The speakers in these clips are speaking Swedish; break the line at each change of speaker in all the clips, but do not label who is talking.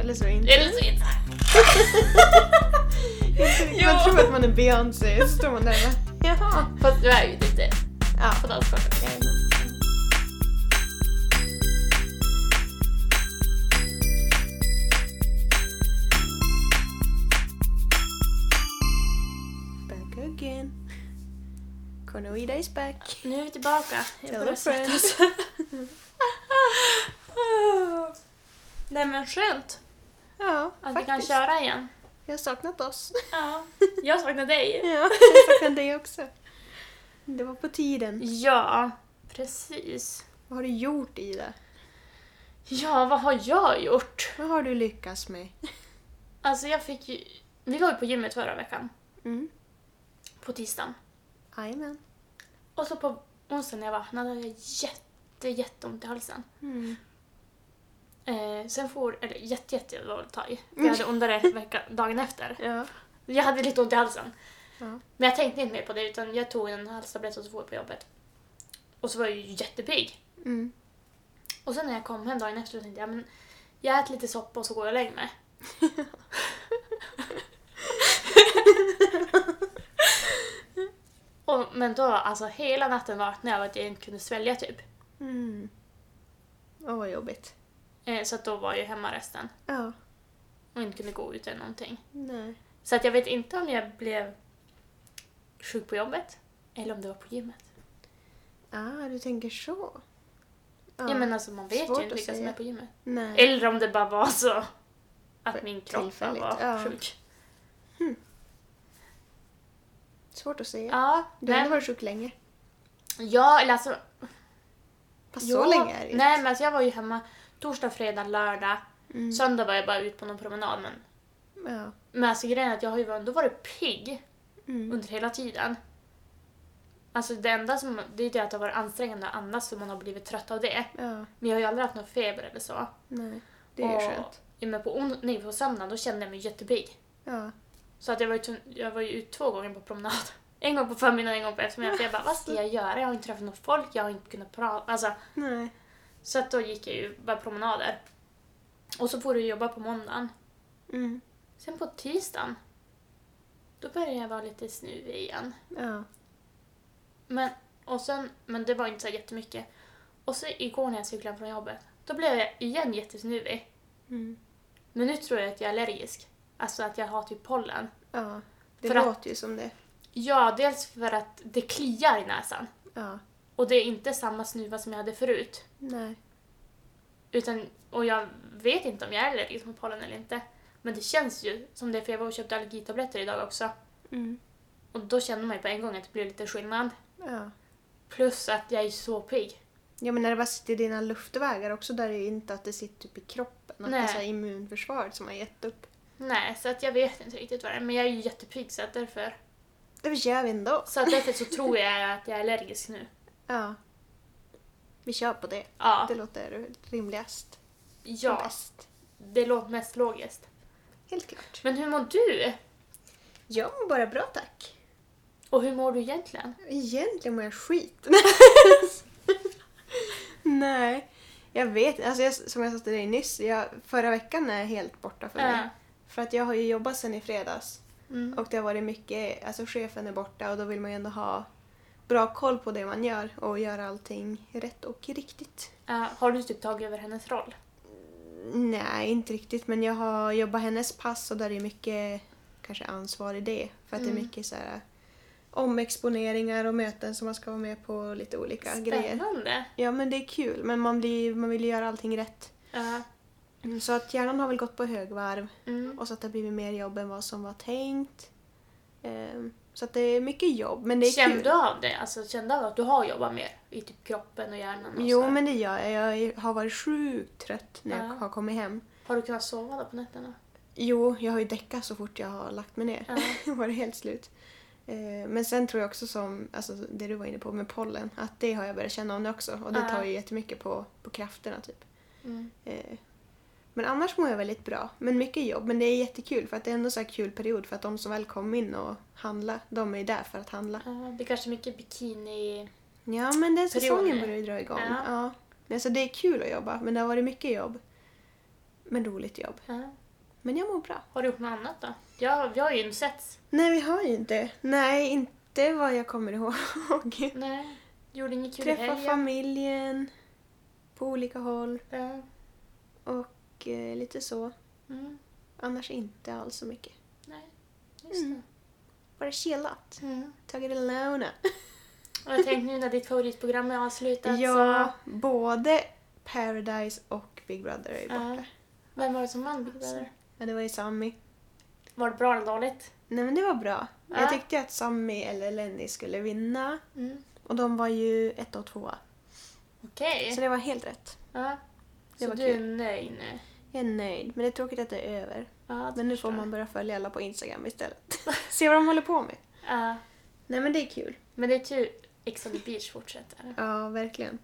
Eller så inte.
Eller så inte.
Man
Ja.
tror att man är Beyoncé, så står man där och bara, jaha.
Fast du är ju duktig
Ja.
på dansgolvet.
Mm. Back again. Cornoida is back.
Nu är vi tillbaka. Jag
Hello,
börjar svettas. Nej men skönt
Ja,
att vi kan
faktiskt.
köra igen.
Jag har saknat oss.
Ja, jag saknar dig.
Ja, jag saknar dig också. Det var på tiden.
Ja, precis.
Vad har du gjort Ida?
Ja, vad har jag gjort?
Vad har du lyckats med?
Alltså jag fick ju... Vi var ju på gymmet förra veckan,
Mm.
på tisdagen.
Jajamän.
Och så på onsdagen när jag vaknade hade jag jätte, jätteont i halsen.
Mm.
Eh, sen får, eller jätte, jätte var att ta i. Jag hade ondare vecka, dagen efter.
Ja.
Jag hade lite ont i halsen.
Ja.
Men jag tänkte inte mer på det utan jag tog en halstablett och så for jag på jobbet. Och så var jag ju jättepigg.
Mm.
Och sen när jag kom hem dagen efter så tänkte jag men jag äter lite soppa och så går jag och lägger mig. och, men då, alltså hela natten vaknade jag av att jag inte kunde svälja typ.
Mm. Åh, vad jobbigt.
Eh, så att då var jag hemma resten
Ja.
och inte kunde gå ut eller någonting.
Nej.
Så att jag vet inte om jag blev sjuk på jobbet eller om det var på gymmet.
Ah, du tänker så.
Ja, men Eh. alltså man vet
Svårt
ju inte
att
vilka som
säga.
är på gymmet.
Nej.
Eller om det bara var så att
För
min kropp bara
tillfälligt,
var
ja.
sjuk.
Svårt att säga.
Ja,
Du har
nej.
ändå varit sjuk länge.
Ja, eller alltså...
Fast
ja,
så länge är det ju
Nej, men alltså jag var ju hemma torsdag, fredag, lördag.
Mm.
Söndag var jag bara ut på någon promenad. Men,
Ja.
men alltså grejen är att jag har ju ändå varit pigg
Mm.
under hela tiden. Alltså det enda som, det är det att det har varit ansträngande att andas så man har blivit trött av det.
Ja.
Men jag har ju aldrig haft någon feber eller så.
Nej. Det är ju
Och-
skönt.
Ja, Men på, on- nej, på söndagen då kände jag mig jättepigg.
Ja.
Så att jag, var ju tun- jag var ju ut två gånger på promenad. En gång på förmiddagen en gång på eftermiddagen. För jag bara, vad ska jag göra? Jag har inte träffat något folk, jag har inte kunnat prata. Alltså,
Nej.
så att då gick jag ju bara promenader. Och så får du jobba på måndagen.
Mm.
Sen på tisdagen, då började jag vara lite snuvig igen.
Ja.
Men, och sen, men det var inte så jättemycket. Och så igår när jag cyklade från jobbet, då blev jag igen jättesnuvig.
Mm.
Men nu tror jag att jag är allergisk. Alltså att jag har typ pollen.
Ja. Det
För att-
låter ju som det.
Ja, dels för att det kliar i näsan.
Ja.
Och det är inte samma snuva som jag hade förut.
Nej.
Utan, och jag vet inte om jag är allergisk mot pollen eller inte. Men det känns ju som det, för jag var och köpte allergitabletter idag också.
Mm.
Och då känner man ju på en gång att det blir lite skillnad.
Ja.
Plus att jag är så pigg.
Ja men när det bara sitter i dina luftvägar också där är det ju inte att det sitter typ i kroppen. Att det är
Nej.
så här immunförsvaret som har gett upp.
Nej, så att jag vet inte riktigt vad det är. Men jag är ju jättepigg så att därför,
Det kör vi ändå.
så att därför så tror jag att jag är allergisk nu.
Ja. Vi kör på det.
Ja,
Det låter rimligast. Och
ja
Bäst.
det låter mest logiskt.
Helt klart.
Men hur mår du?
Jag mår bara bra tack.
Och hur mår du egentligen?
Egentligen mår jag skit. Nej. Jag vet alltså jag, som jag sa till dig nyss, jag, förra veckan är helt borta för mig.
Äh,
För att jag har ju jobbat sen i fredags.
mm.
Och det har varit mycket, alltså chefen är borta och då vill man ju ändå ha bra koll på det man gör och göra allting rätt och riktigt.
Äh, har du typ tagit över hennes roll?
Nej, inte riktigt men jag har jobbat hennes pass och där är mycket kanske ansvar i det. För att det är
Mm.
mycket så här omexponeringar och möten som man ska vara med på och lite olika grejer.
Spännande!
Ja men det är kul men man, blir, man vill ju göra allting rätt.
Ja.
Mm, Så att hjärnan har väl gått på högvarv
Mm.
och så att det har blivit mer jobb än vad som var tänkt. Ehm, Så att det är mycket jobb men det är
Kände
kul.
du av det? Alltså, kände du av att du har jobbat mer i typ kroppen och hjärnan? Och
Jo,
så?
men det gör jag. Jag har varit sjukt trött när
Ja.
jag har kommit hem.
Har du kunnat sova då på nätterna?
Jo, jag har ju däckat så fort jag har lagt mig ner.
Ja.
Jag var helt slut. Eh, Men sen tror jag också som alltså, det du var inne på med pollen, att det har jag börjat känna av nu också. Och det
Ja.
tar ju jättemycket på, på krafterna typ.
Mm.
Eh, Men annars mår jag väldigt bra. Men mycket jobb. Men det är jättekul för att det är ändå så här kul period för att de som väl kom in och handla, de är ju där för att handla.
Ja, det är kanske mycket bikini...
Ja, men den säsongen
Perioder.
börjar ju dra igång.
Ja.
Ja. Ja. Alltså, det är kul att jobba, men det har varit mycket jobb. Men roligt jobb.
Ja.
Men jag mår bra.
Har du gjort något annat då? Ja, vi har ju inte sett.
Nej, vi har ju inte. Nej, inte vad jag kommer ihåg.
Nej. Gjorde inget kul i
Träffa
helgen.
familjen på olika håll
Ja.
och eh, lite så.
Mm.
Annars inte alls så mycket.
Nej, just
Mm. Bara chillat.
det. Mm.
Tagit det lugna.
Och jag tänkte nu när ditt favoritprogram är avslutat
Ja,
så...
både Paradise och Big Brother är ju borta.
Ja. Vem var det som vann Big Brother?
Ja, det var ju Sammy.
Var det bra eller dåligt?
Nej men det var bra.
Ja.
Jag tyckte att Sammy eller Lenny skulle vinna.
Mm.
Och de var ju ett och tvåa.
Okej.
Så det var helt rätt.
Ja.
Det
Så
var
du
kul.
är nöjd nu?
Jag är nöjd, men det är tråkigt att det är över.
Ja, det
Men nu
förstår
får man
jag.
börja följa alla på Instagram istället. Se vad de håller på med.
Ja.
Nej men det är kul.
Men det är tur Ex on the Beach fortsätter.
Ja, verkligen.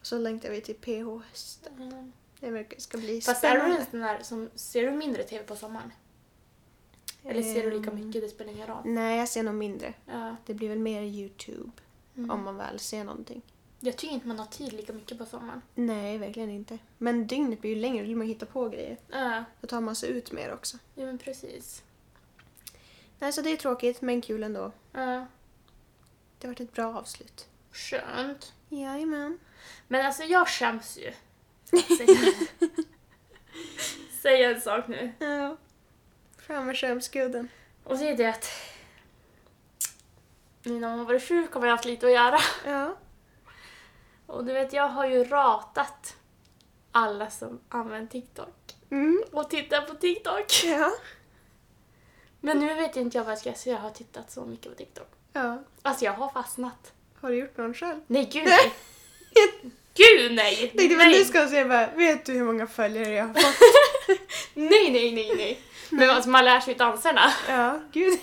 Och så längtar vi till PH hösten.
Mm.
Det verkar ska bli
Fast är du en
spännande.
sån där som... Ser du mindre TV på sommaren? Eller ser du lika
Ehm,
mycket? Det spelar ingen roll.
Nej, jag ser nog mindre.
Ja.
Det blir väl mer YouTube
Mm.
om man väl ser någonting.
Jag tycker inte man har tid lika mycket på sommaren.
Nej, verkligen inte. Men dygnet blir ju längre, då vill man hitta på grejer.
Ja,
Då tar man sig ut mer också.
ja men precis.
Nej, så det är tråkigt, men kul ändå.
Ja.
Det har varit ett bra avslut.
Skönt.
Jajamän.
Men alltså jag skäms ju. Säga, säga en sak nu.
Ja. Fram med skämskudden.
Och det är det att nu när man har varit sjuk har man haft lite att göra.
Ja.
Och du vet, jag har ju ratat alla som använder TikTok
Mm.
och tittar på TikTok.
Ja.
Men nu vet inte jag vad jag ska göra så jag har tittat så mycket på TikTok.
Ja.
Alltså jag har fastnat.
Har du gjort någon själv?
Nej, gud nej! gud nej!
Jag tänkte väl
nej.
du ska säga bara, vet du hur många följare jag har fått?
nej, nej, nej, nej! Men alltså man lär sig ju danserna.
ja, gud.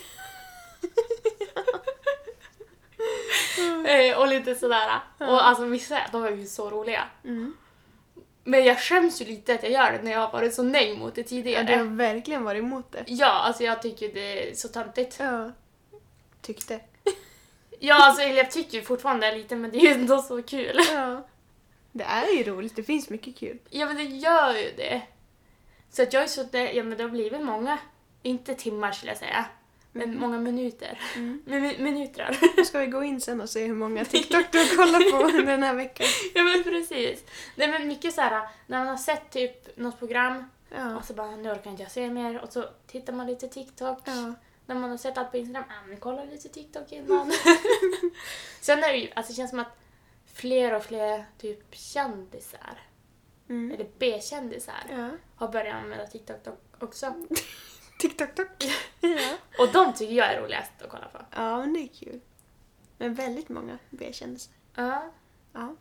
Eh, och lite sådär.
Ja.
Och alltså vissa, de är ju så roliga.
Mm.
Men jag skäms ju lite att jag gör det när jag har varit så nej mot det
Ja,
tidigare.
du har verkligen varit emot det.
Ja, alltså jag tycker det är så töntigt.
Ja. Tyckte.
Ja, alltså eller jag tycker ju fortfarande lite men det är ju ändå så kul.
Ja. Det är ju roligt, det finns mycket kul.
Ja men det gör ju det. Så att jag är så det, ja men det har blivit många, inte timmar skulle jag säga, men många minuter.
Mm.
Min, minuter.
Nu ska vi gå in sen och se hur många TikTok du har kollat på under den här veckan.
ja men precis. Nej men mycket så här när man har sett typ något program
Ja.
och så bara nu orkar inte jag se mer och så tittar man lite TikTok.
Ja.
När man har sett allt på Instagram, ah, men kolla lite TikTok innan.
Mm.
Sen är det ju, alltså det känns som att fler och fler typ kändisar,
Mm.
eller B-kändisar,
Ja.
har börjat använda TikTok dock också.
TikTok, tok. Ja.
Och de tycker jag är roligast att kolla på.
ja, men det är kul. Men väldigt många B-kändisar.
Ja.
Ja.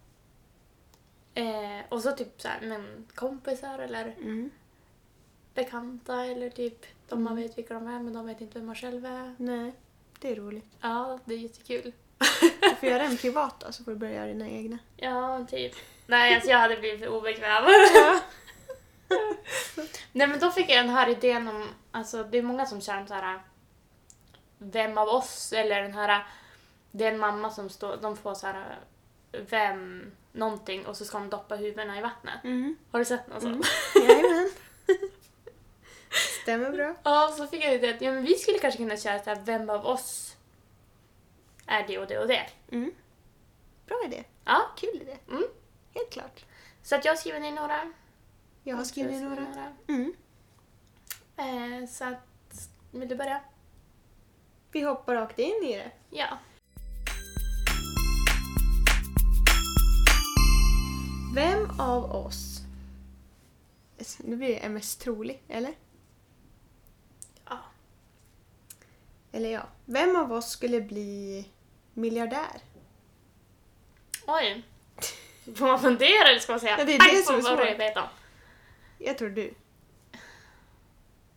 Eh, och så typ så här, men kompisar eller
Mm.
bekanta eller typ de man vet vilka de är men de vet inte vem man själv är.
Nej, det är roligt.
Ja, det är jättekul.
Du får göra en privat då, så får du börja göra dina egna.
Ja, typ. Nej, alltså jag hade blivit för obekväm.
Ja.
Nej men då fick jag den här idén om, alltså det är många som känner så här Vem av oss? Eller den här, det är en mamma som står, de får så här Vem? Någonting och så ska de doppa huvudena i vattnet.
Mm.
Har du sett någon sån?
Mm. Jajamän.
Mm.
Stämmer bra.
Ja, så fick jag idén att ja, men vi skulle kanske kunna köra så här, vem av oss är det och det och det?
Mm. Bra idé.
Ja.
Kul idé.
Mm.
Helt klart.
Så att jag skriver ner några.
Jag har skrivit
Jag
några.
skriver
Mm.
några. Eh, så att, vill du börja?
Vi hoppar rakt in i det.
Ja.
Vem av oss... Nu blir det mest trolig, eller?
Ja.
Eller ja. Vem av oss skulle bli miljardär?
Oj. Får man fundera eller ska man säga?
Ja, det är det
"Aj,
som är
vad
svårt."
bra jag vet om.
Jag tror du.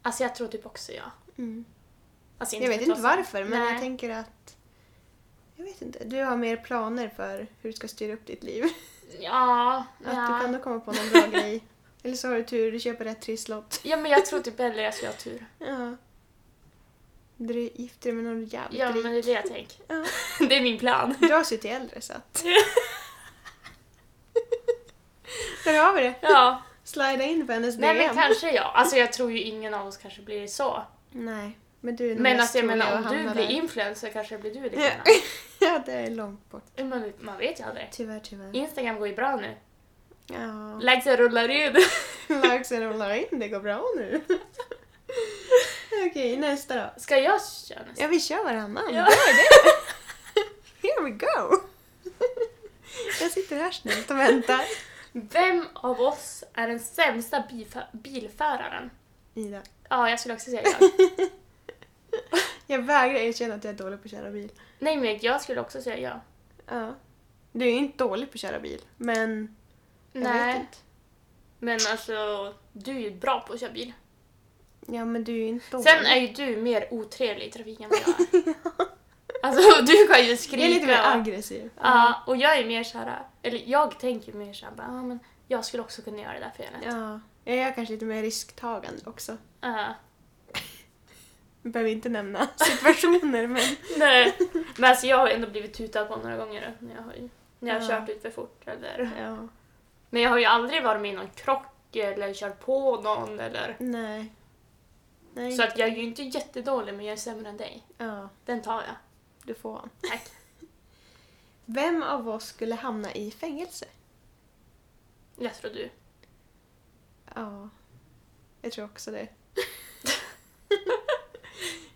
Alltså jag tror typ också ja.
Mm.
Alltså,
Jag vet
för
inte
att-
varför, men
Nej.
jag tänker att... Jag vet inte. Du har mer planer för hur du ska styra upp ditt liv.
Ja,
Att du
ja.
kan då komma på någon bra grej. Eller så har du tur, du köper rätt trisslott.
ja men jag tror typ hellre att jag har tur.
Ja. Du gifter dig med någon jävligt
Ja
rik.
men det är det jag tänker.
Ja.
Det är min plan.
Du dras ju till äldre så att... Där har vi det.
Ja.
Slida in på hennes
Nej men
DM.
kanske jag. Alltså jag tror ju ingen av oss kanske blir så.
Nej, men du är nog
Men
mest
alltså jag
trolig
menar
att
om du
hamna
blir
där.
influencer kanske blir du lite
Ja.
innan.
Ja, det är långt bort.
Men man vet ju aldrig.
Tyvärr, tyvärr.
Instagram går ju bra nu.
Ja.
Likesen rullar in.
Likes and rullar in, det går bra nu. Okej, nästa då.
Ska jag köra nästa?
Ja, vi kör varannan.
Ja.
Bra idé! Here we go! Jag sitter här snällt och väntar.
Vem av oss är den sämsta bifö- bilföraren?
Ida.
Ja, jag skulle också säga jag.
Jag vägrar erkänna att jag är dålig på att köra bil.
Nej men jag skulle också säga jag.
Ja. Du är ju inte dålig på att köra bil, men jag vet
Nej,
inte.
men alltså du är ju bra på att köra bil.
Oh, Ja, men du är ju inte dålig.
Sen är ju du mer otrevlig i trafiken än vad jag är. Alltså du kan ju
jag är lite mer
skrika. och-
aggressiv.
Ja, och jag är mer såhär, eller jag tänker mer såhär, bara, ja men jag skulle också kunna göra det där felet.
Ja. Jag är kanske lite mer risktagande också.
Ja.
Vi behöver inte nämna situationer, men...
Nej, men alltså jag har ändå blivit tutad på några gånger när jag har, ju- när jag har
Ja.
kört ut för fort eller
Ja.
Men jag har ju aldrig varit med i någon krock eller kört på någon eller...
Nej. Nej.
Så att jag är ju inte jättedålig men jag är sämre än dig.
Ja,
Den tar jag.
du får han.
Tack.
Vem av oss skulle hamna i fängelse?
Jag tror du.
Ja. Jag tror också det.
Jag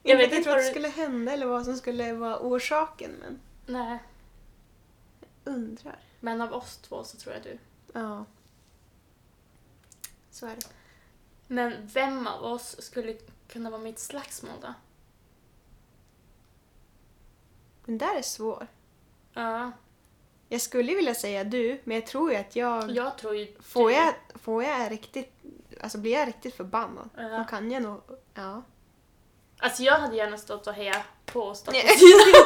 jag
vet
vet
inte
inte
vad
vad det
du-
skulle hända eller vad som skulle vara orsaken, men
Nej.
undrar.
Men av oss två så tror jag du.
Ja. Så är det.
Men vem av oss skulle kunna vara mitt slagsmål då?
Den där är svår.
Ja.
Jag skulle vilja säga du, men jag tror ju att jag...
Jag tror ju du.
Får jag, får jag riktigt... Alltså blir jag riktigt förbannad,
Ja.
då kan jag nog... Ja.
Alltså jag hade gärna stått och hejat på och stått och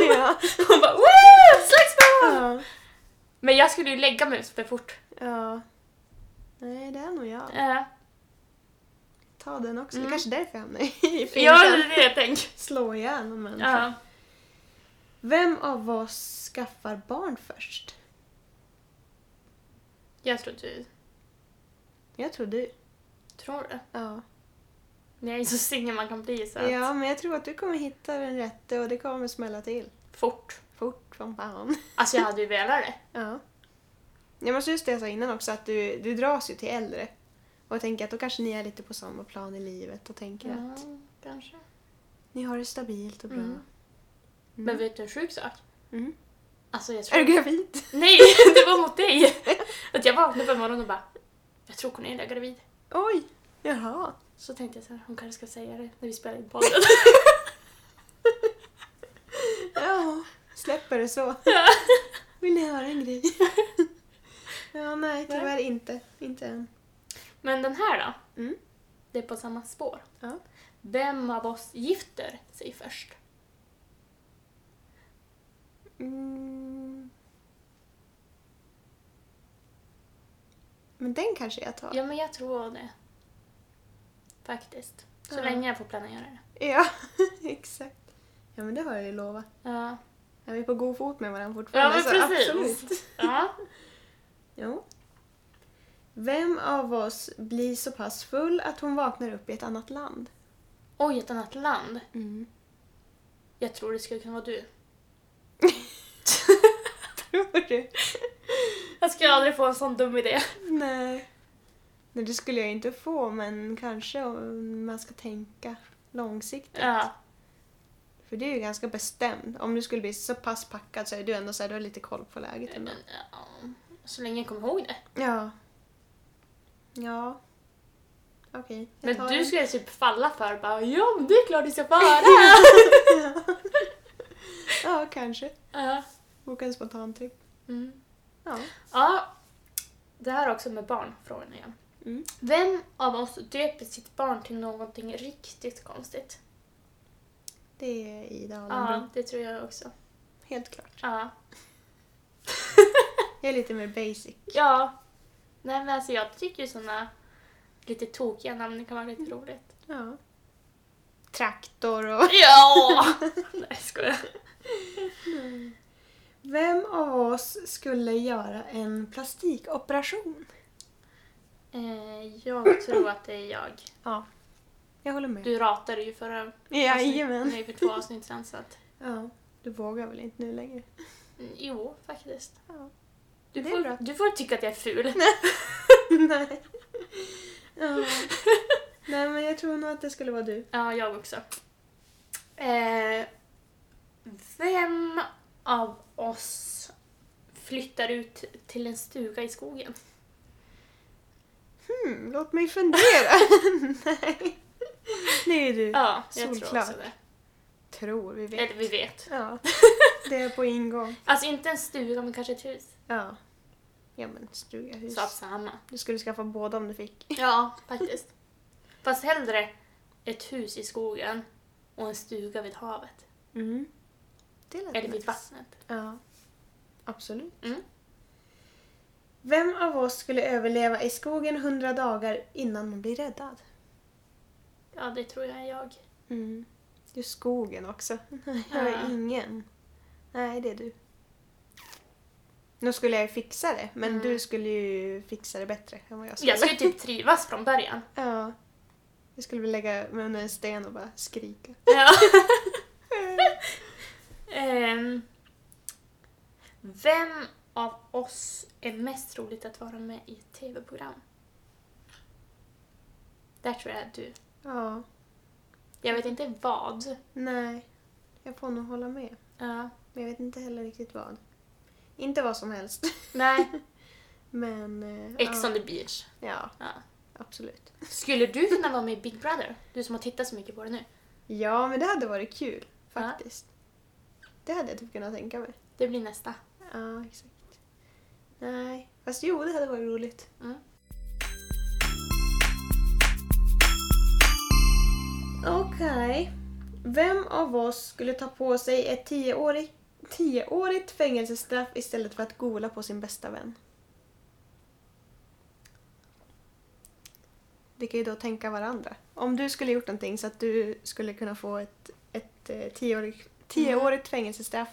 ja.
Hon bara Woo! Slagsmål!
ja.
Men jag skulle ju lägga mig för fort.
Ja. Nej, det är nog jag.
Ja.
Ta den också. Det
Mm.
är kanske därför jag hamnade i
Ja, det
finkan.
är det jag tänker.
Slå ihjäl någon människa.
Ja.
Vem av oss skaffar barn först?
Jag tror du.
Jag tror du.
Tror du?
Ja.
Men jag är så singel man kan bli så att...
ja, men jag tror att du kommer hitta den rätte och det kommer smälla till.
Fort.
Fort som fan.
Alltså jag hade ju velat det.
Ja. Jag måste just det jag sa innan också, att du, du dras ju till äldre. Och jag tänker att då kanske ni är lite på samma plan i livet och tänker att
kanske.
ni har det stabilt och bra.
Mm.
Mm.
Men vet du en sjuk sak?
Mm.
Alltså jag
Är
tror...
du gravid?
Nej, det var mot dig! Att jag vaknade på morgonen och bara Jag tror Cornelia är gravid.
Oj! Jaha.
Så tänkte jag så här, hon kanske ska säga det när vi spelar in podden.
Ja, släpper det så. Vill ni höra en grej? Ja, nej, tyvärr inte. Inte än.
Men den här då?
Mm.
Det är på samma spår.
Ja.
Vem av oss gifter sig först?
Mm. Men den kanske jag tar.
Ja men jag tror det. Faktiskt. Så
Ja.
länge jag får planera det.
Ja, exakt. Ja, men det har jag ju lovat.
Ja,
Ja, vi är på god fot med varandra
ja
fortfarande.
men
så
precis.
Absolut.
Ja.
Jo. Vem av oss blir så pass full att hon vaknar upp i ett annat land?
Oj, ett annat land. Jag tror det skulle kunna vara du.
Tror du?
Jag skulle aldrig få en sån dum idé.
Nej. Nej, det skulle jag inte få, men kanske om man ska tänka långsiktigt.
Ja.
För det är ju ganska bestämd. Om du skulle bli så pass packad så är du ändå så här, du har lite koll på läget ändå.
Men, ja. Så länge jag kommer ihåg det.
Ja. Ja. Okej. jag
Men
tar
du
den.
skulle typ falla för bara ja men det är klart du ska fara.
Ja, kanske.
ja.
Boka en spontantripp.
Mm.
Ja.
ja. Det här är också med barn, frågan igen.
Mm.
Vem av oss döper sitt barn till någonting riktigt konstigt?
Det är Ida Alenbron.
Ja, det tror jag också.
Helt klart.
Ja.
Jag är lite mer basic.
Ja. Nej men alltså jag tycker ju såna lite tokiga namn kan vara lite roligt.
Ja. Traktor och...
Ja! Nej jag skojar.
Vem av oss skulle göra en plastikoperation?
Eh, jag tror att det är jag.
Ja. Jag håller med.
Du ratade ju förra
Jajamän.
nej, för två avsnitt sedan. Så att,
Alltså, Ja. Du vågar väl inte nu längre?
mm, jo, faktiskt.
Ja.
Du
Det är bra.
får, du får tycka att jag är ful.
Nej. Ja. Nej men jag tror nog att det skulle vara du.
Ja, jag också. Eh, vem av oss flyttar ut till en stuga i skogen?
Mm. Hmm, låt mig fundera. Nej. Det är du.
Ja, jag tror
Solklart.
också det.
Tror, vi vet.
Eller vi vet.
Ja. Det är på ingång.
Alltså inte en stuga men kanske ett hus.
Ja. Ja men stuga, hus.
Sak samma.
Du skulle skaffa båda om du fick.
Ja, faktiskt. Fast hellre ett hus i skogen och en stuga vid havet.
Mm. Det lät
Eller vid
nice.
vattnet.
Ja. Absolut.
Mm.
Vem av oss skulle överleva i skogen 100 dagar innan man blir räddad?
Ja, det tror jag är jag.
Mm. Det är skogen också. Jag är
Ja.
ingen. Nej, det är du. Nu skulle jag ju fixa det, men
Mm.
du skulle ju fixa det bättre än vad jag skulle.
Jag skulle typ trivas från början.
Ja. Jag skulle väl lägga mig under en sten och bara skrika.
Ja. Ehm, vem av oss är mest roligt att vara med i ett tv-program? Där tror jag att du.
Ja.
Jag vet inte vad.
Nej. Jag får nog hålla med.
Ja.
Men jag vet inte heller riktigt vad. Inte vad som helst.
Nej,
Men... eh,
Ex
ja.
on the beach.
ja,
Ja.
absolut.
Skulle du kunna vara med i Big Brother? Du som har tittat så mycket på det nu.
Ja, men det hade varit kul
Ja.
faktiskt. Det hade jag typ kunnat tänka mig.
Det blir nästa.
Ja, exakt. Nej, fast jo, det hade varit roligt.
Mm.
Okej. Vem av oss skulle ta på sig ett tioårigt, tioårigt fängelsestraff istället för att gola på sin bästa vän? Vi kan ju då tänka varandra. Om du skulle gjort någonting så att du skulle kunna få ett, ett eh, tioårigt, tioårigt fängelsestraff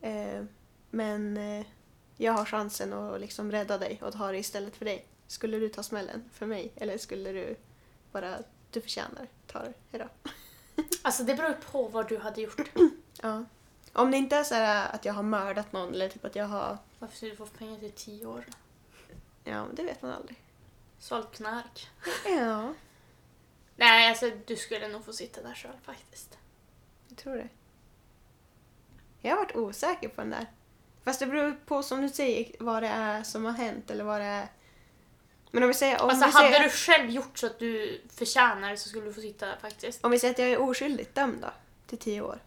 eh, men eh, jag har chansen att liksom rädda dig och ta det istället för dig. Skulle du ta smällen för mig eller skulle du bara, du förtjänar, ta det, hejdå.
Alltså det beror ju på vad du hade gjort.
Ja. Om det inte är så här att jag har mördat någon eller typ att jag har,
Varför skulle du få pengar till tio år?
ja men det vet man aldrig.
Sålt knark.
Ja,
Nej, alltså du skulle nog få sitta där själv faktiskt.
jag tror det. Jag har varit osäker på den där. Fast det beror på som du säger vad det är som har hänt eller vad det är. Men om vi säger, om
alltså
vi
hade
säger,
du själv gjort så att du förtjänar det så skulle du få sitta där faktiskt.
om vi säger att jag är oskyldigt dömd då, till tio år.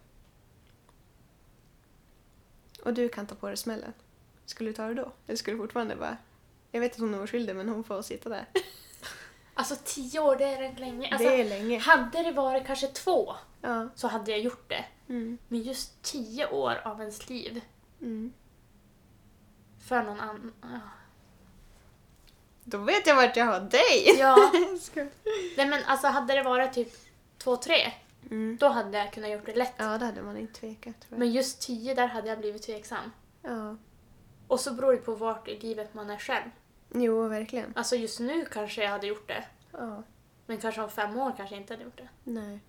Och du kan ta på dig smällen. Skulle du ta det då? Eller skulle du fortfarande bara... Jag vet att hon är oskyldig men hon får sitta där.
Alltså tio år, det är rätt länge. Alltså,
det är länge.
Hade det varit kanske två
Ja.
så hade jag gjort det.
Mm.
Men just tio år av ens liv
Mm.
för någon annan. ja.
Då vet jag vart jag har dig!
Ja.
Jag skojar.
Nej men alltså hade det varit typ två, tre,
mm.
då hade jag kunnat gjort det lätt.
Ja, det hade man inte tvekat tror jag.
Men just tio, där hade jag blivit tveksam.
Ja.
Och så beror det på vart i livet man är själv.
Jo, verkligen.
Alltså just nu kanske jag hade gjort det.
Ja.
Men kanske om fem år kanske jag inte hade gjort det.
Nej.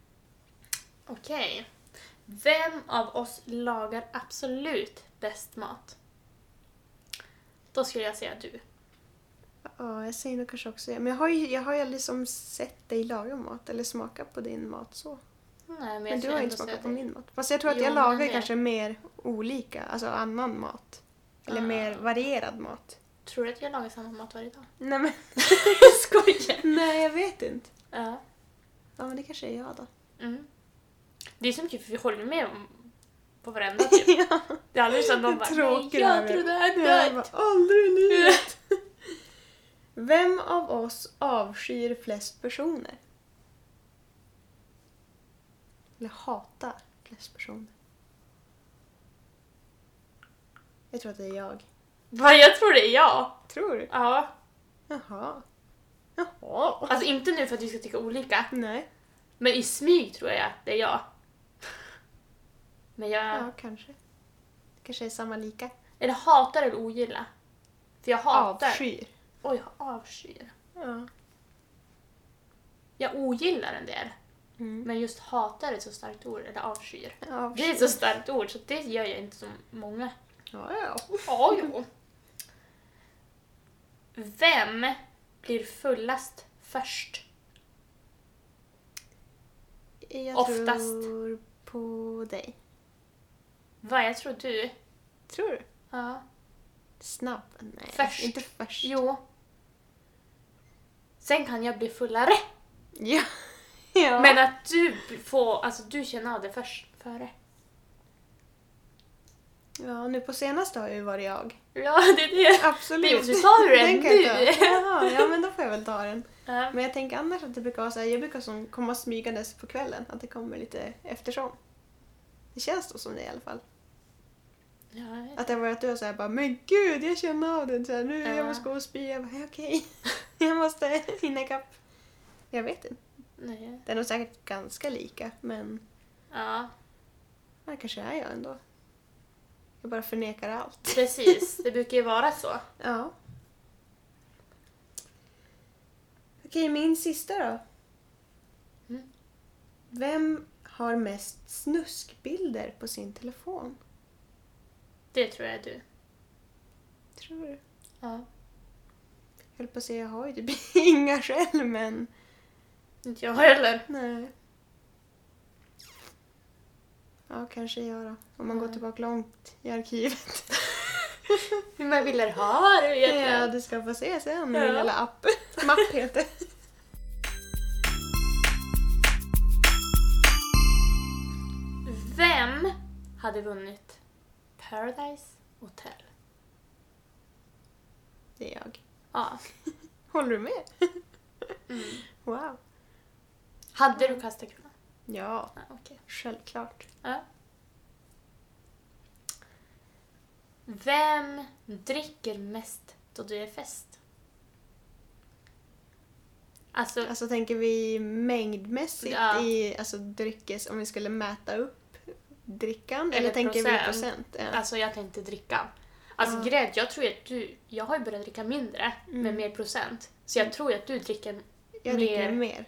Okej. Vem av oss lagar absolut bäst mat? Då skulle jag säga du.
Ja, jag säger nog kanske också det. Men jag har ju, jag har ju liksom sett dig laga mat eller smaka på din mat så.
Nej, men,
Men du
jag
har
skulle
ju
ändå
inte smakat
säga
på
du.
min mat. Fast jag tror att
Jo,
jag
men
lagar
det-
kanske mer olika, alltså annan mat. Eller
Ah.
mer varierad mat.
Tror du att jag lagar samma mat varje dag?
Nej men,
jag skojar!
nej jag vet inte.
Ja.
Ja men det kanske är jag då.
Mm. Det är så mycket för vi håller med om på varenda typ.
ja,
Det är aldrig så att någon bara nej, jag tror det här är
Jag
dött.
bara, aldrig i livet! Vem av oss avskyr flest personer? Eller hatar flest personer? Jag tror att det är jag.
Va, jag tror det är jag.
Tror du?
Ja.
Jaha. Jaha.
Alltså inte nu för att vi ska tycka olika,
Nej.
men i smyg tror jag det är jag. Men jag...
Ja, kanske. Kanske är samma lika.
Eller hatar eller ogilla. För jag hatar.
Avskyr.
Oj, jag avskyr.
Ja.
Jag ogillar en del,
Mm.
men just hatar är ett så starkt ord, eller avskyr.
Ja,
Det är ett så starkt ord, så det gör jag inte så många.
ja, ja.
Ja, jo. Vem blir fullast först?
Jag
Oftast.
tror på dig.
Vad jag tror du?
Tror du?
Ja.
Snabb? Nej,
Först.
inte först.
Jo. Sen kan jag bli fullare.
Ja. ja.
Men att du får, alltså du känner av det först, före.
ja, nu på senaste har ju varit jag.
Ja, det är det.
Absolut.
Men du sa ju det
Den kan jag
nu.
ta. Jaha, ja men då får jag väl ta den.
Ja.
Men jag tänker annars att det brukar vara så här, jag brukar som komma smygandes på kvällen, att det kommer lite eftersom. Det känns då som det i alla fall.
Ja.
Att det har varit du och såhär bara men gud jag känner av den så här, nu
Ja.
jag måste gå och spy. Jag bara "Ja, okej, jag måste hinna ikapp. Jag vet inte.
Nej.
Det är nog säkert ganska lika men
Ja,
ja, kanske är jag ändå. Jag bara förnekar allt.
precis. Det brukar ju vara så.
Ja. Okej, min sista då.
Mm.
Vem har mest snuskbilder på sin telefon?
Det tror jag är du.
Tror du?
Ja.
Jag höll på att säga, jag har ju typ inga själv men
Inte jag heller.
nej. Ja, kanske jag då. Om man går
Mm.
tillbaka långt i arkivet.
Hur många bilder har du
Ja,
egentligen?
du ska få se sen
Ja.
min lilla app. Mapp heter
Vem hade vunnit Paradise Hotel?
Det är jag.
Ja.
Håller du med?
Mm.
Wow.
Hade du kastat kronan?
Ja,
Ja, okej.
självklart.
Ja. Vem dricker mest då du är fest? Alltså,
Alltså tänker vi mängdmässigt
Ja.
i alltså, dryckes, om vi skulle mäta upp drickan? Eller,
Eller
tänker vi
procent.
procent? Ja.
alltså jag tänkte dricka. Alltså
Ja.
grejen är att jag tror att du, jag har ju börjat dricka mindre
Mm.
med mer procent. Så jag tror att du dricker,
Jag dricker
mer.
mer.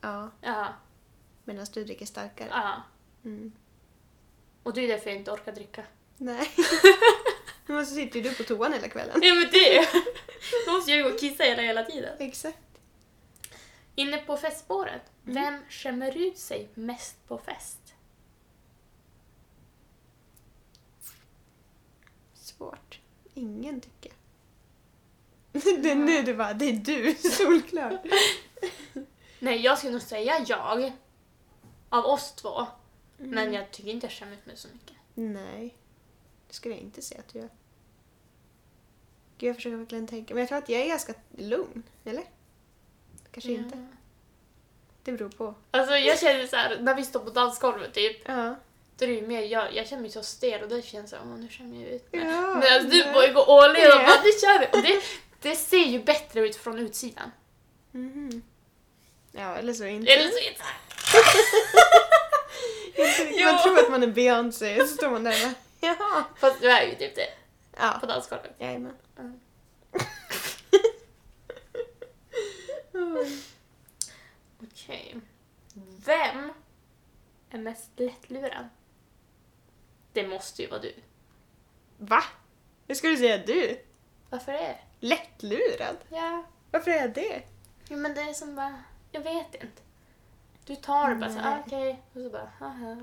Ja,
ja,
medan du dricker starkare.
ja.
Mm.
Och det är därför jag inte orkar dricka.
Nej. Men så sitter ju du på toan hela kvällen.
Nej men det! Då måste jag ju gå och kissa hela, hela tiden.
Exakt.
Inne på festspåret,
Mm.
vem skämmer ut sig mest på fest?
Svårt. Ingen tycker jag. Det är nu du bara, det är du, solklart.
Nej, jag skulle nog säga jag. Av oss två. Men jag tycker inte jag skämmer ut mig så mycket.
Nej, det skulle jag inte säga att du gör. Gud, jag försöker verkligen tänka. Men jag tror att jag är ganska lugn, eller? Kanske inte.
Ja.
Det beror på.
Alltså jag känner så här, när vi står på dansgolvet typ,
Ja.
då är det ju mer jag, jag känner mig så stel och då känns det som, åh nu känner jag ut mig.
Ja,
Men alltså, du
nej.
bara går all in och
Ja.
bara, nu kör vi! Och det, det ser ju bättre ut från utsidan.
Mhm. Ja, eller så inte.
Eller så är det så här,
Inte- Man
Ja.
tror att man är Beyoncé, så står man där och bara, jaha.
Fast du är ju typ det, på
Ja,
dansgolvet.
jajamän.
Mm.
Oj.
Okej. Vem är mest lättlurad? Det måste ju vara du.
Va? Jag skulle säga du.
Varför det?
Lättlurad?
Ja.
Varför är jag det?
Jo men det är som bara, jag vet inte. Du tar det bara så,
Nej.
ah, okej. Och så bara, haha.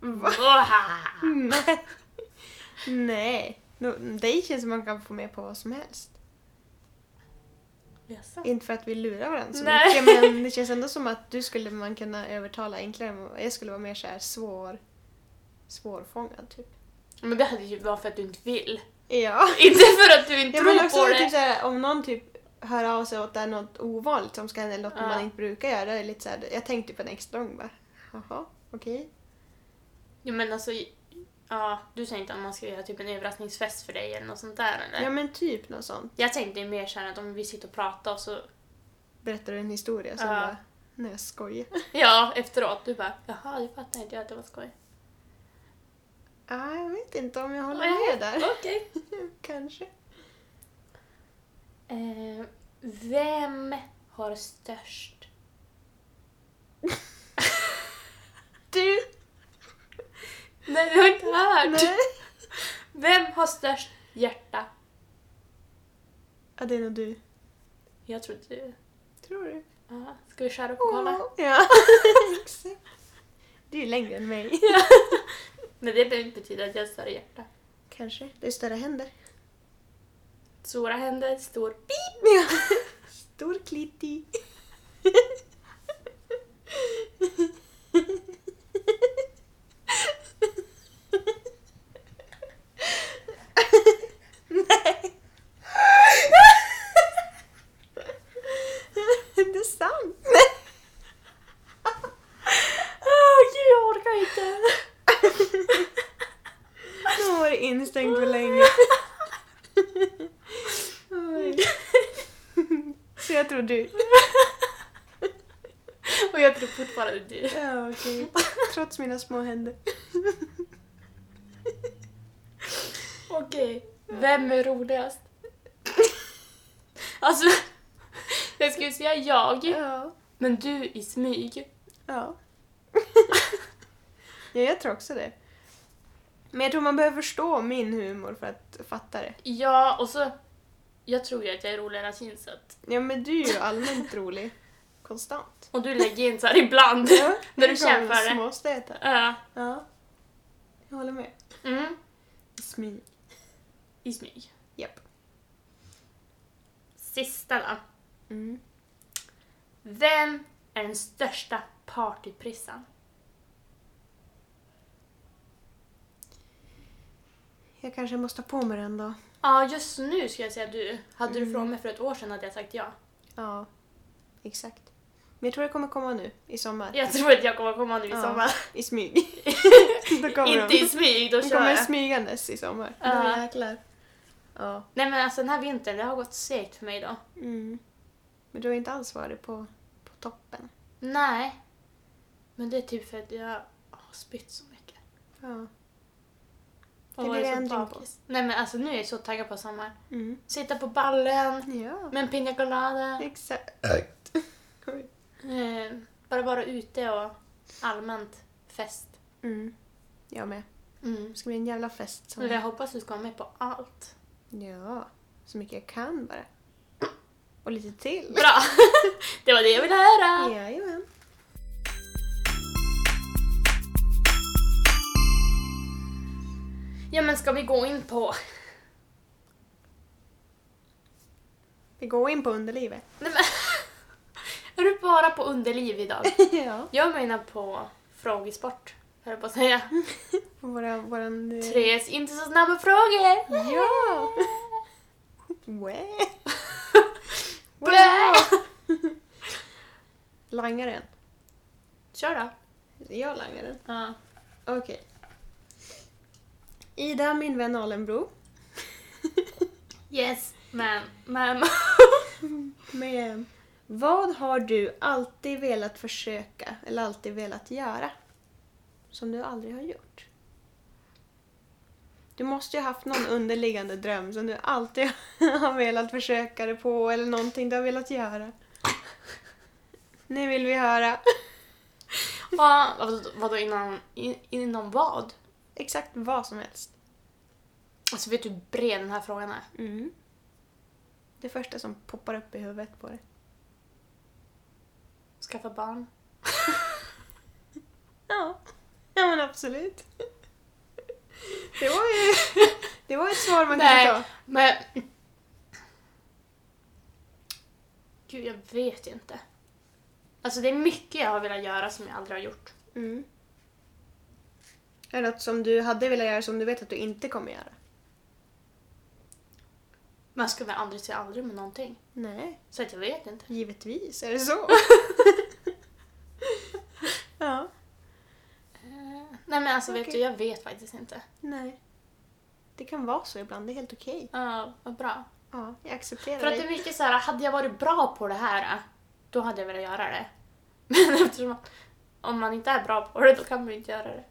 Va?
Waha!
Nej. Nej. Nå- Dig känns som man kan få med på vad som helst.
Jaså?
Inte för att vi lurar varandra så
Nej.
mycket men det känns ändå som att du skulle man kunna övertala enklare. än vad- Jag skulle vara mer så här svår, svårfångad typ.
Men det hade ju varit för att du inte vill.
Ja.
Inte för att du inte
Jag
tror
men också
på det.
typ så här, om någon typ hör av sig åt det är något ovanligt som ska hända eller något
Ja.
man inte brukar göra. det Är lite så här, jag tänkte på en extra gång bara. Jaha, okej.
Jo men alltså, ja, du säger inte att man ska göra typ en överraskningsfest för dig eller något sånt där eller?
Ja men typ något sånt.
Jag tänkte ju mer såhär att om vi sitter och pratar och så,
Berättar du en historia som
Ja.
bara, nej jag skojar.
ja efteråt, du bara jaha, det fattar inte jag att det var skoj.
Ah, jag vet inte om jag håller
Nej.
med där.
Okej.
Kanske.
Eh, Vem har störst?
Du!
Nej, jag har inte hört!
Nej.
Vem har störst hjärta?
Ja, det är nog du.
Jag tror du.
Tror du?
Ja, ska vi köra upp och kolla?
Ja. Exakt. Du är ju längre än mig.
Men det behöver inte betyda att jag har större hjärta.
Kanske. Det är större händer.
Stora händer, stor pip!
Ja. Stor klitti. Nej. Det är sant.
Åh Ah, gud, jag orkar inte!
Nu var det instängd för länge. Oj. Så jag tror du.
Och jag tror fortfarande du.
Ja, okej. Trots mina små händer.
Okej, vem är roligast? Alltså, jag skulle säga jag,
Ja.
men du i smyg.
Ja. ja, jag tror också det. Men jag tror man behöver förstå min humor för att fatta det.
Ja, och så... Jag tror ju att jag är roligare än Akin, så att...
Ja, men du är ju allmänt rolig. Konstant.
Och du lägger in så här ibland.
Ja,
När du känner för det.
Småstötar.
Ja.
Ja. Jag håller med.
Mm.
Smyg.
I smyg.
Japp.
Sista då.
Mm.
Vem är den största partyprissan?
Jag kanske måste ha på mig den då.
Ja, just nu ska jag säga du. Hade du frågat mig för ett år sedan hade jag sagt ja.
Ja, exakt. Men jag tror det kommer komma nu i sommar.
Jag tror att jag kommer komma nu i
Ja,
sommar.
I smyg. då kommer
Inte
de.
i smyg, då
de
kör
kommer
jag.
smygandes i sommar.
Ja.
Då jäklar. Ja.
Nej men alltså den här vintern, det har gått segt för mig då.
Mm. Men du har inte alls varit på, på toppen.
Nej. Men det är typ för att jag har spytt så mycket.
Ja.
Och
Det blir
varit
det
så
ändring på.
bakis. Nej men alltså nu är jag så taggad på sommar.
Mm.
Sitta på ballen
Ja,
med en pina colada.
exakt. Oj.
Eh, bara vara ute och allmänt fest.
Mm. Jag med.
Mm.
Det ska bli en jävla fest.
Men jag
Som...
hoppas du ska vara med på allt.
Ja, så mycket jag kan bara. Och lite till.
Bra! det var det jag ville höra!
Jajamän.
Ja men ska vi gå in på...
Vi går in på underlivet.
Nej, men... Är du bara på underliv idag?
ja.
Jag menar på frågesport, höll jag på att säga.
Våra, våran... eh,
Tres inte så snabba frågor!
Ja! Wä.
Blä!
Langaren.
Kör då.
Jag langaren.
Ja.
Okej. Ida, min vän Alenbro,
Yes, men, men...
med Vad har du alltid velat försöka eller alltid velat göra? Som du aldrig har gjort? Du måste ju ha haft någon underliggande dröm som du alltid har velat försöka dig på eller någonting du har velat göra. Nu vill vi höra
Ja, vadå, vadå innan, in, inom vad?
exakt vad som helst.
Alltså vet du hur bred den här frågan är?
Mm. Det första som poppar upp i huvudet på dig.
Skaffa barn?
Ja, ja men absolut. Det var ju det var ett svar man
Nej.
kunde ta.
Men... Gud, jag vet inte. Alltså det är mycket jag har velat göra som jag aldrig har gjort.
Mm. Är det något som du hade velat göra som du vet att du inte kommer göra?
Man ska väl aldrig säga aldrig med någonting.
Nej,
Så att jag vet inte.
givetvis är det så. ja,
Eh, Nej men alltså vet
Okej.
du, jag vet faktiskt inte.
nej. Det kan vara så ibland, det är helt okej.
Ja, vad bra.
Ja, jag accepterar
För att det
dig.
är mycket så här, hade jag varit bra på det här, eh, då hade jag velat göra det. Men eftersom att om man inte är bra på det, då kan man ju inte göra det.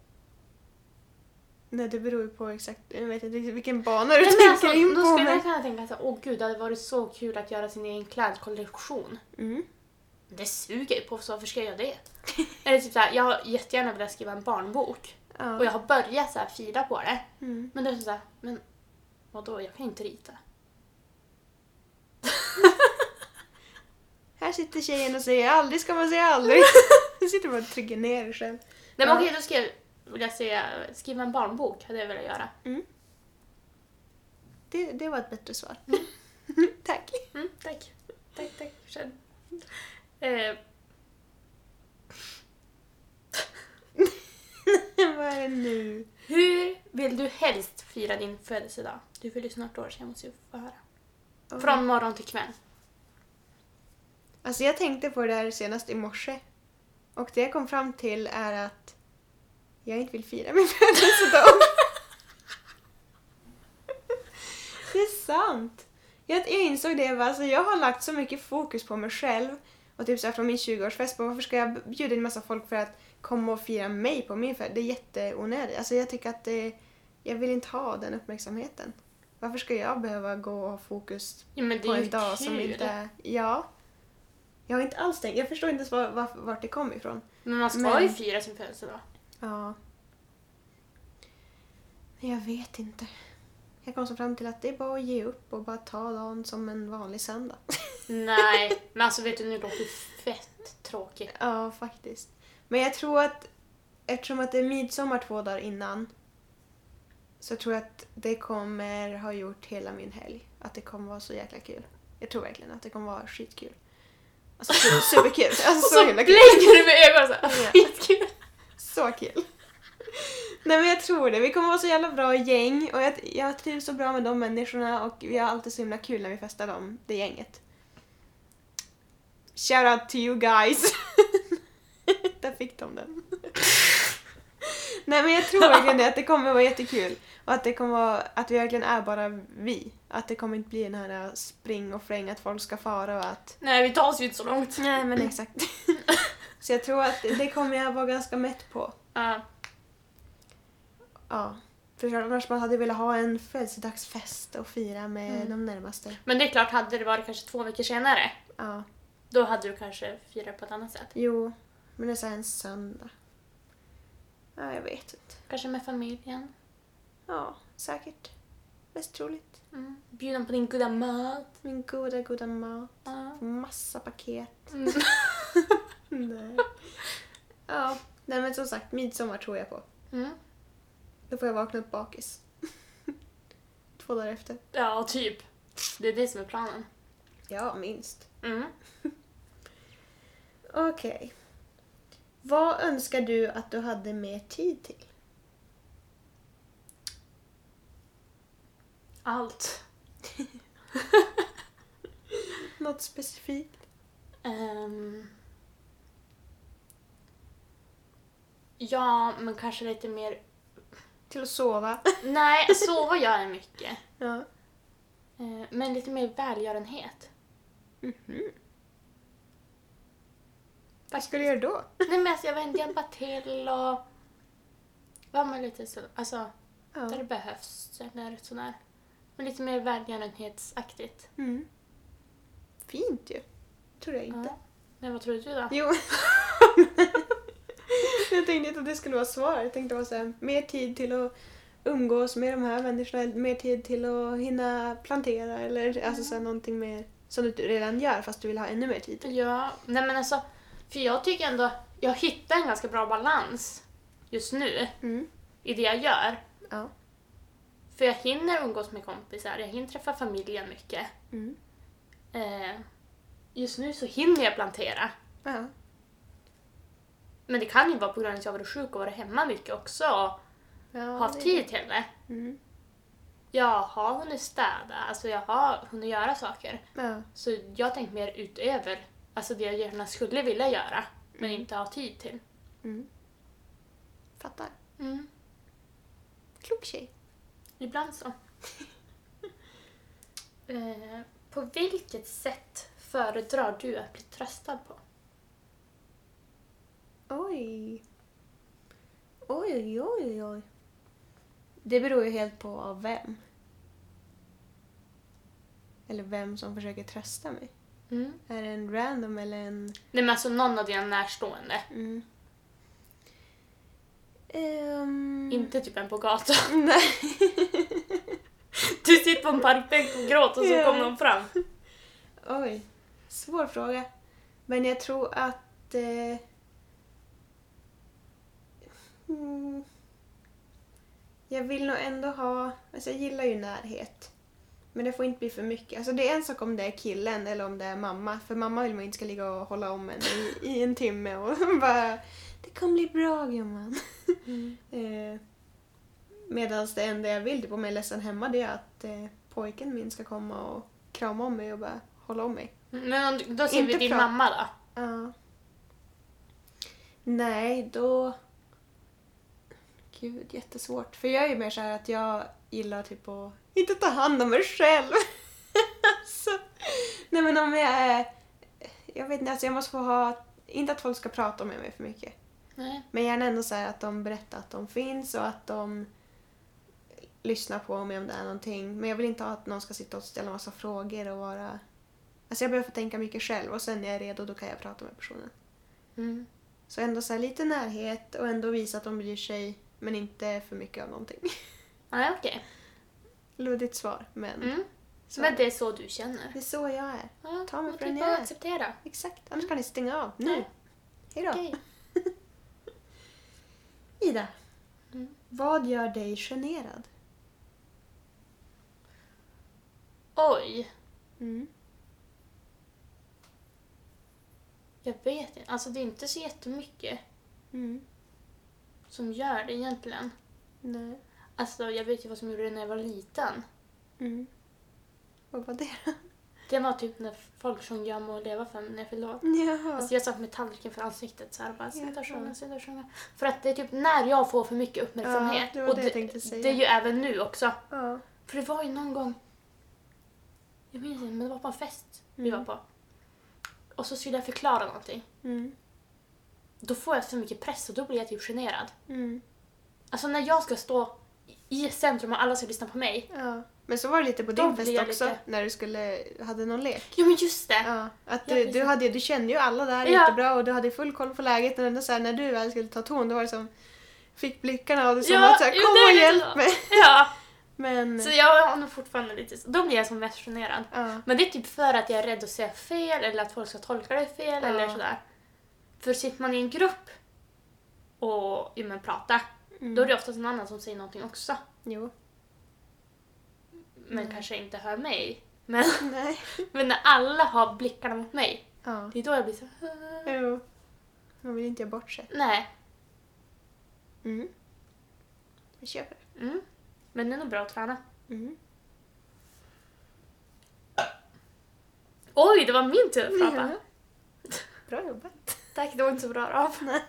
Nej, det beror ju på exakt, jag vet inte riktigt vilken bana du
Men
tänker
alltså,
in
då
på.
skulle
Men...
jag kunna tänka så här, åh gud, det hade varit så kul att göra sin egen klädkollektion.
Mm.
Men Det suger ju på, så varför ska jag göra det? Eller typ såhär, jag har jättegärna velat skriva en barnbok
Ja.
och jag har börjat så här fila på det.
Mm.
Men då är det såhär, men vadå, jag kan ju inte rita.
Här sitter tjejen och säger aldrig ska man säga aldrig. Du sitter bara och trycker ner dig själv.
Nej men
Ja.
okej, då ska jag, vill jag säga, skriva en barnbok hade jag velat göra.
Det, det var ett bättre svar. Tack.
Mm, tack. Tack, tack. Känn. Eh,
Vad är det nu?
hur vill du helst fira din födelsedag? Du fyller snart år så jag måste ju få höra.
Oj.
Från morgon till kväll.
Alltså jag tänkte på det här senast i morse. Och det jag kom fram till är att jag inte vill fira min födelsedag. det är sant. Jag, jag insåg det, va? Alltså jag har lagt så mycket fokus på mig själv. Och typ såhär från min 20-årsfest, bara, varför ska jag bjuda in massa folk för att komma och fira mig på min födelsedag? Det är jätteonödigt. Alltså jag tycker att det, jag vill inte ha den uppmärksamheten. Varför ska jag behöva gå och ha fokus
Ja, men det
på
är
en
ju
dag
dag
som
kul.
inte är... Ja. Jag har inte alls tänkt. Jag förstår inte ens var, var, vart det kom ifrån.
Men man ska
Men-
ju fira sin födelsedag.
Ja. Men Jag vet inte. Jag kom så fram till att det är bara att ge upp och bara ta dagen som en vanlig söndag.
Nej, men alltså vet du, nu låter det fett tråkigt.
Ja, faktiskt. Men jag tror att eftersom att det är midsommar två dagar innan så tror jag att det kommer ha gjort hela min helg. Att det kommer vara så jäkla kul. Jag tror verkligen att det kommer vara skitkul. Alltså su- superkul.
Och
Alltså
så
så himla kul.
blinkar du med ögonen såhär,
Ja.
skitkul!
Så kul. Nej men jag tror det. Vi kommer vara så jävla bra gäng och jag, jag trivs så bra med de människorna och vi har alltid så himla kul när vi festar dem, det gänget. Shout out to you guys! Där fick de den. Nej men jag tror verkligen det, att det kommer vara jättekul. Och att det kommer vara, att vi verkligen är bara vi. Att det kommer inte bli den här spring och fläng, att folk ska fara och att
Nej, vi tar oss ju inte så långt.
Nej, men exakt. så jag tror att det kommer jag vara ganska mätt på.
Ja.
Ja. För annars man hade velat ha en födelsedagsfest och fira med
Mm.
de närmaste.
Men det är klart, hade det varit kanske två veckor senare,
Ja.
då hade du kanske firat på ett annat sätt.
Jo, men det är så här en söndag. Ja, jag vet inte.
Kanske med familjen.
Ja, säkert. Mest troligt.
Mm. Bjuda på din goda mat.
Min goda, goda mat.
Ja.
Massa paket.
Mm.
Nej. Ja, nej men som sagt, midsommar tror jag på.
Mm.
Då får jag vakna upp bakis. Två dagar efter.
Ja, typ. Det är det som är planen.
Ja, minst.
Mm.
Okej. Vad önskar du att du hade mer tid till?
Allt.
Något specifikt?
Ehm. Ja, men kanske lite mer...
Till att sova?
Nej, sova gör jag mycket.
ja.
Eh, Men lite mer välgörenhet.
Mhm. Vad skulle du göra då?
Nej men alltså jag vet inte, hjälpa till och vara med lite så, alltså där det
Ja.
behövs eller sådär. Men lite mer välgörenhetsaktigt.
Mm. Fint ju. Tror jag inte.
Ja. Men vad tror du då?
Jo. jag tänkte inte att det skulle vara svar. Jag tänkte vara så här, mer tid till att umgås med de här människorna. eller Mer tid till att hinna plantera eller alltså så här, någonting mer som du redan gör fast du vill ha ännu mer tid.
Ja, nej men alltså, för jag tycker ändå, jag hittar en ganska bra balans just nu
Mm.
i det jag gör.
Ja.
För jag hinner umgås med kompisar, jag hinner träffa familjen mycket.
Mm.
Eh, just nu så hinner jag plantera.
Mm. Ja.
Men det kan ju vara på grund av att jag har varit sjuk och varit hemma mycket också och
ja
haft
det-
tid till det.
Mm.
Jag har hunnit städa, alltså jag har hunnit göra saker.
Ja.
Så jag har tänkt mer utöver alltså det jag gärna skulle vilja göra, men
Mm.
inte har tid till.
Mm. Fattar.
Mm.
Klok tjej.
Ibland så. eh, på vilket sätt föredrar du att bli tröstad på?
Oj. Oj, oj, oj, oj. Det beror ju helt på av vem. Eller vem som försöker trösta mig.
Mm.
Är det en random eller en...
Nej men alltså någon av dina närstående.
Mm. Ehm,
Inte typ en på gatan.
Nej.
Du sitter på en parkbänk och gråter och så
Ja.
kommer de fram.
Oj. Svår fråga. Men jag tror att... Eh... Mm. Jag vill nog ändå ha... Alltså jag gillar ju närhet. Men det får inte bli för mycket. Alltså det är en sak om det är killen eller om det är mamma. För mamma vill man inte ska ligga och hålla om en i, i en timme och bara... Det kommer bli bra gumman.
Mm.
Eh, Medan det enda jag vill typ, om jag är ledsen hemma det är att eh, pojken min ska komma och krama om mig och bara hålla om mig.
Men om, du- då ser vi
Inte
din
pra-
mamma då.
Ja. Nej, då... Gud, jättesvårt. För jag är ju mer så här att jag gillar typ att inte ta hand om mig själv. alltså, nej men om jag är... Jag vet inte, alltså jag måste få ha... Inte att folk ska prata med mig för mycket.
Nej.
Men gärna ändå så här att de berättar att de finns och att de lyssnar på mig om det är någonting. Men jag vill inte ha att någon ska sitta och ställa massa frågor och vara... Alltså jag behöver få tänka mycket själv och sen när jag är redo då kan jag prata med personen.
Mm.
Så ändå så här lite närhet och ändå visa att de bryr sig men inte för mycket av någonting.
Nej okej.
Luddigt svar men...
Mm.
Så.
Men det är så du känner.
Det är så jag är.
Ja,
Ta mig
men
för
det
den jag
är bara
är.
att acceptera.
Exakt, annars kan ni stänga av nu.
Ja.
Hejdå.
Okej.
Ida,
Mm.
vad gör dig generad?
Oj,
Mm.
jag vet inte. Alltså det är inte så jättemycket
Mm.
som gör det egentligen.
Nej.
Alltså jag vet ju vad som gjorde det när jag var liten.
Mm. Vad var det då?
Det var typ när folk sjöng Jag må leva för mig när jag fyllde år.
Jaha.
Alltså jag satt med tallriken för ansiktet så här och bara sitta och sjunga,
Jaha.
sitta och sjunga. För att det är typ när jag får för mycket uppmärksamhet.
Ja, det var
och
det jag tänkte säga.
det är ju även nu också.
ja.
För det var ju någon gång, jag minns inte, men det var på en fest vi
Mm.
var på. Och så skulle jag förklara någonting.
Mm.
Då får jag så mycket press och då blir jag typ generad.
Mm.
Alltså när jag ska stå i centrum och alla ska lyssna på mig.
Ja. Men så var det lite på
Då
din
blir
fest
jag
också,
lite-
när du skulle, hade någon lek.
Ja men just det!
Ja, att
Ja,
du, du,
precis.
hade, ju- du kände ju alla där
Ja.
jättebra och du hade full koll på läget. Men ändå så här, när du väl skulle ta ton, då var det som... Fick blickarna och det som
Ja,
att så här,
jo,
kom
det är
och
lite
hjälp
så.
mig.
Ja!
Men...
Så jag har nog fortfarande lite så- Då blir jag som mest generad.
Ja.
Men det är typ för att jag är rädd att säga fel eller att folk ska tolka det fel
Ja.
eller sådär. För sitter man i en grupp och ja, men, pratar,
Mm.
då är det oftast någon annan som säger någonting också.
Jo.
Men
Mm.
kanske inte hör mig. Men,
Nej.
men när alla har blickarna mot mig,
Ja.
det är då jag blir så här,
Jo. Man vill inte göra bort sig.
Nej.
Mm. Vi köper det.
Mm. Men det är nog bra att träna.
Mm.
Oj, det var min tur att prata.
Ja. Bra jobbat.
Tack, det var inte så bra rap.
Nej,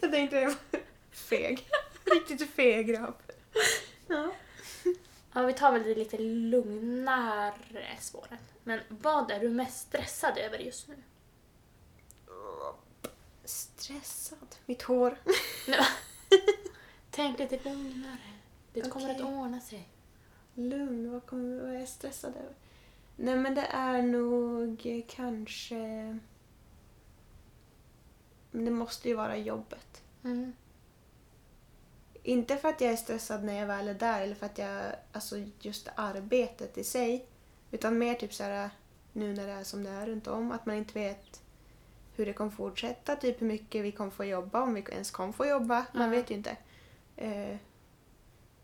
jag tänkte det var feg. Riktigt feg rap. Ja.
Ja, vi tar väl det lite lugnare spåret. Men vad är du mest stressad över just nu?
Stressad. Mitt hår.
Tänk lite lugnare. Det kommer
Okej.
att ordna sig.
Lugn, vad, kommer, vad är jag stressad över? Nej men det är nog eh, kanske... Men Det måste ju vara jobbet.
Mm.
Inte för att jag är stressad när jag väl är där eller för att jag... Alltså just arbetet i sig. Utan mer typ så här nu när det är som det är runt om. Att man inte vet hur det kommer fortsätta. Typ hur mycket vi kommer få jobba. Om vi ens kommer få jobba. Man
Ja.
vet ju inte. Eh,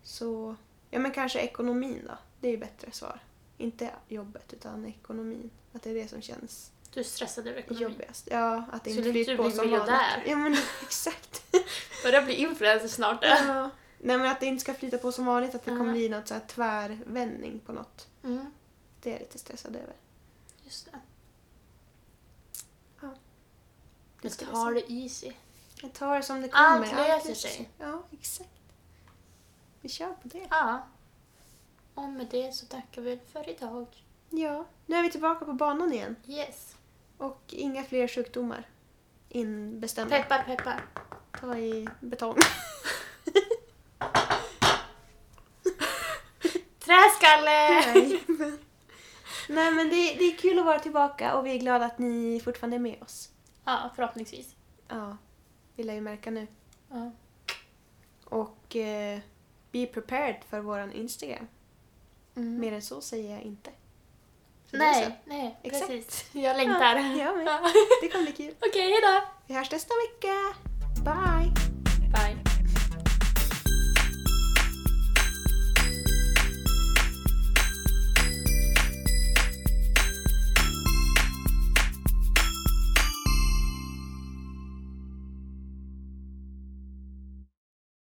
så... Ja men kanske ekonomin då. Det är ju bättre svar. Inte jobbet utan ekonomin. Att det är det som känns
Du är stressad över ekonomin.
jobbigast. Ja, att det
Så
inte
du-
flyter
du
på
blir
som vanligt.
miljardär.
Ja men exakt.
Börjar bli influencer snart. du.
Ja. Nej men att det inte ska flyta på som vanligt, att det kommer
Ja.
bli något så här tvärvändning på något.
Mm.
Det är jag lite stressad över.
Just det.
Ja.
Men
ska vi
ta
se.
det easy.
Jag tar det som det kommer.
Allt löser sig.
Ja, exakt. Vi kör på det.
Ja. Och med det så tackar vi för idag.
Ja, nu är vi tillbaka på banan igen.
Yes.
Och inga fler sjukdomar inbestämda.
Peppar, peppar.
Ta i betong.
Tjurskalle!
Nej, men, nej, men det, är- det är kul att vara tillbaka och vi är glada att ni fortfarande är med oss.
Ja, förhoppningsvis.
Ja, vi lär ju märka nu.
Ja.
Och eh, be prepared för våran Instagram.
Mm.
Mer än så säger jag inte. Så det är så.
Nej, nej,
Exakt.
precis. Jag längtar.
Ja, jag med. Det kommer bli kul.
Okej, hejdå!
Vi hörs nästa vecka. Bye!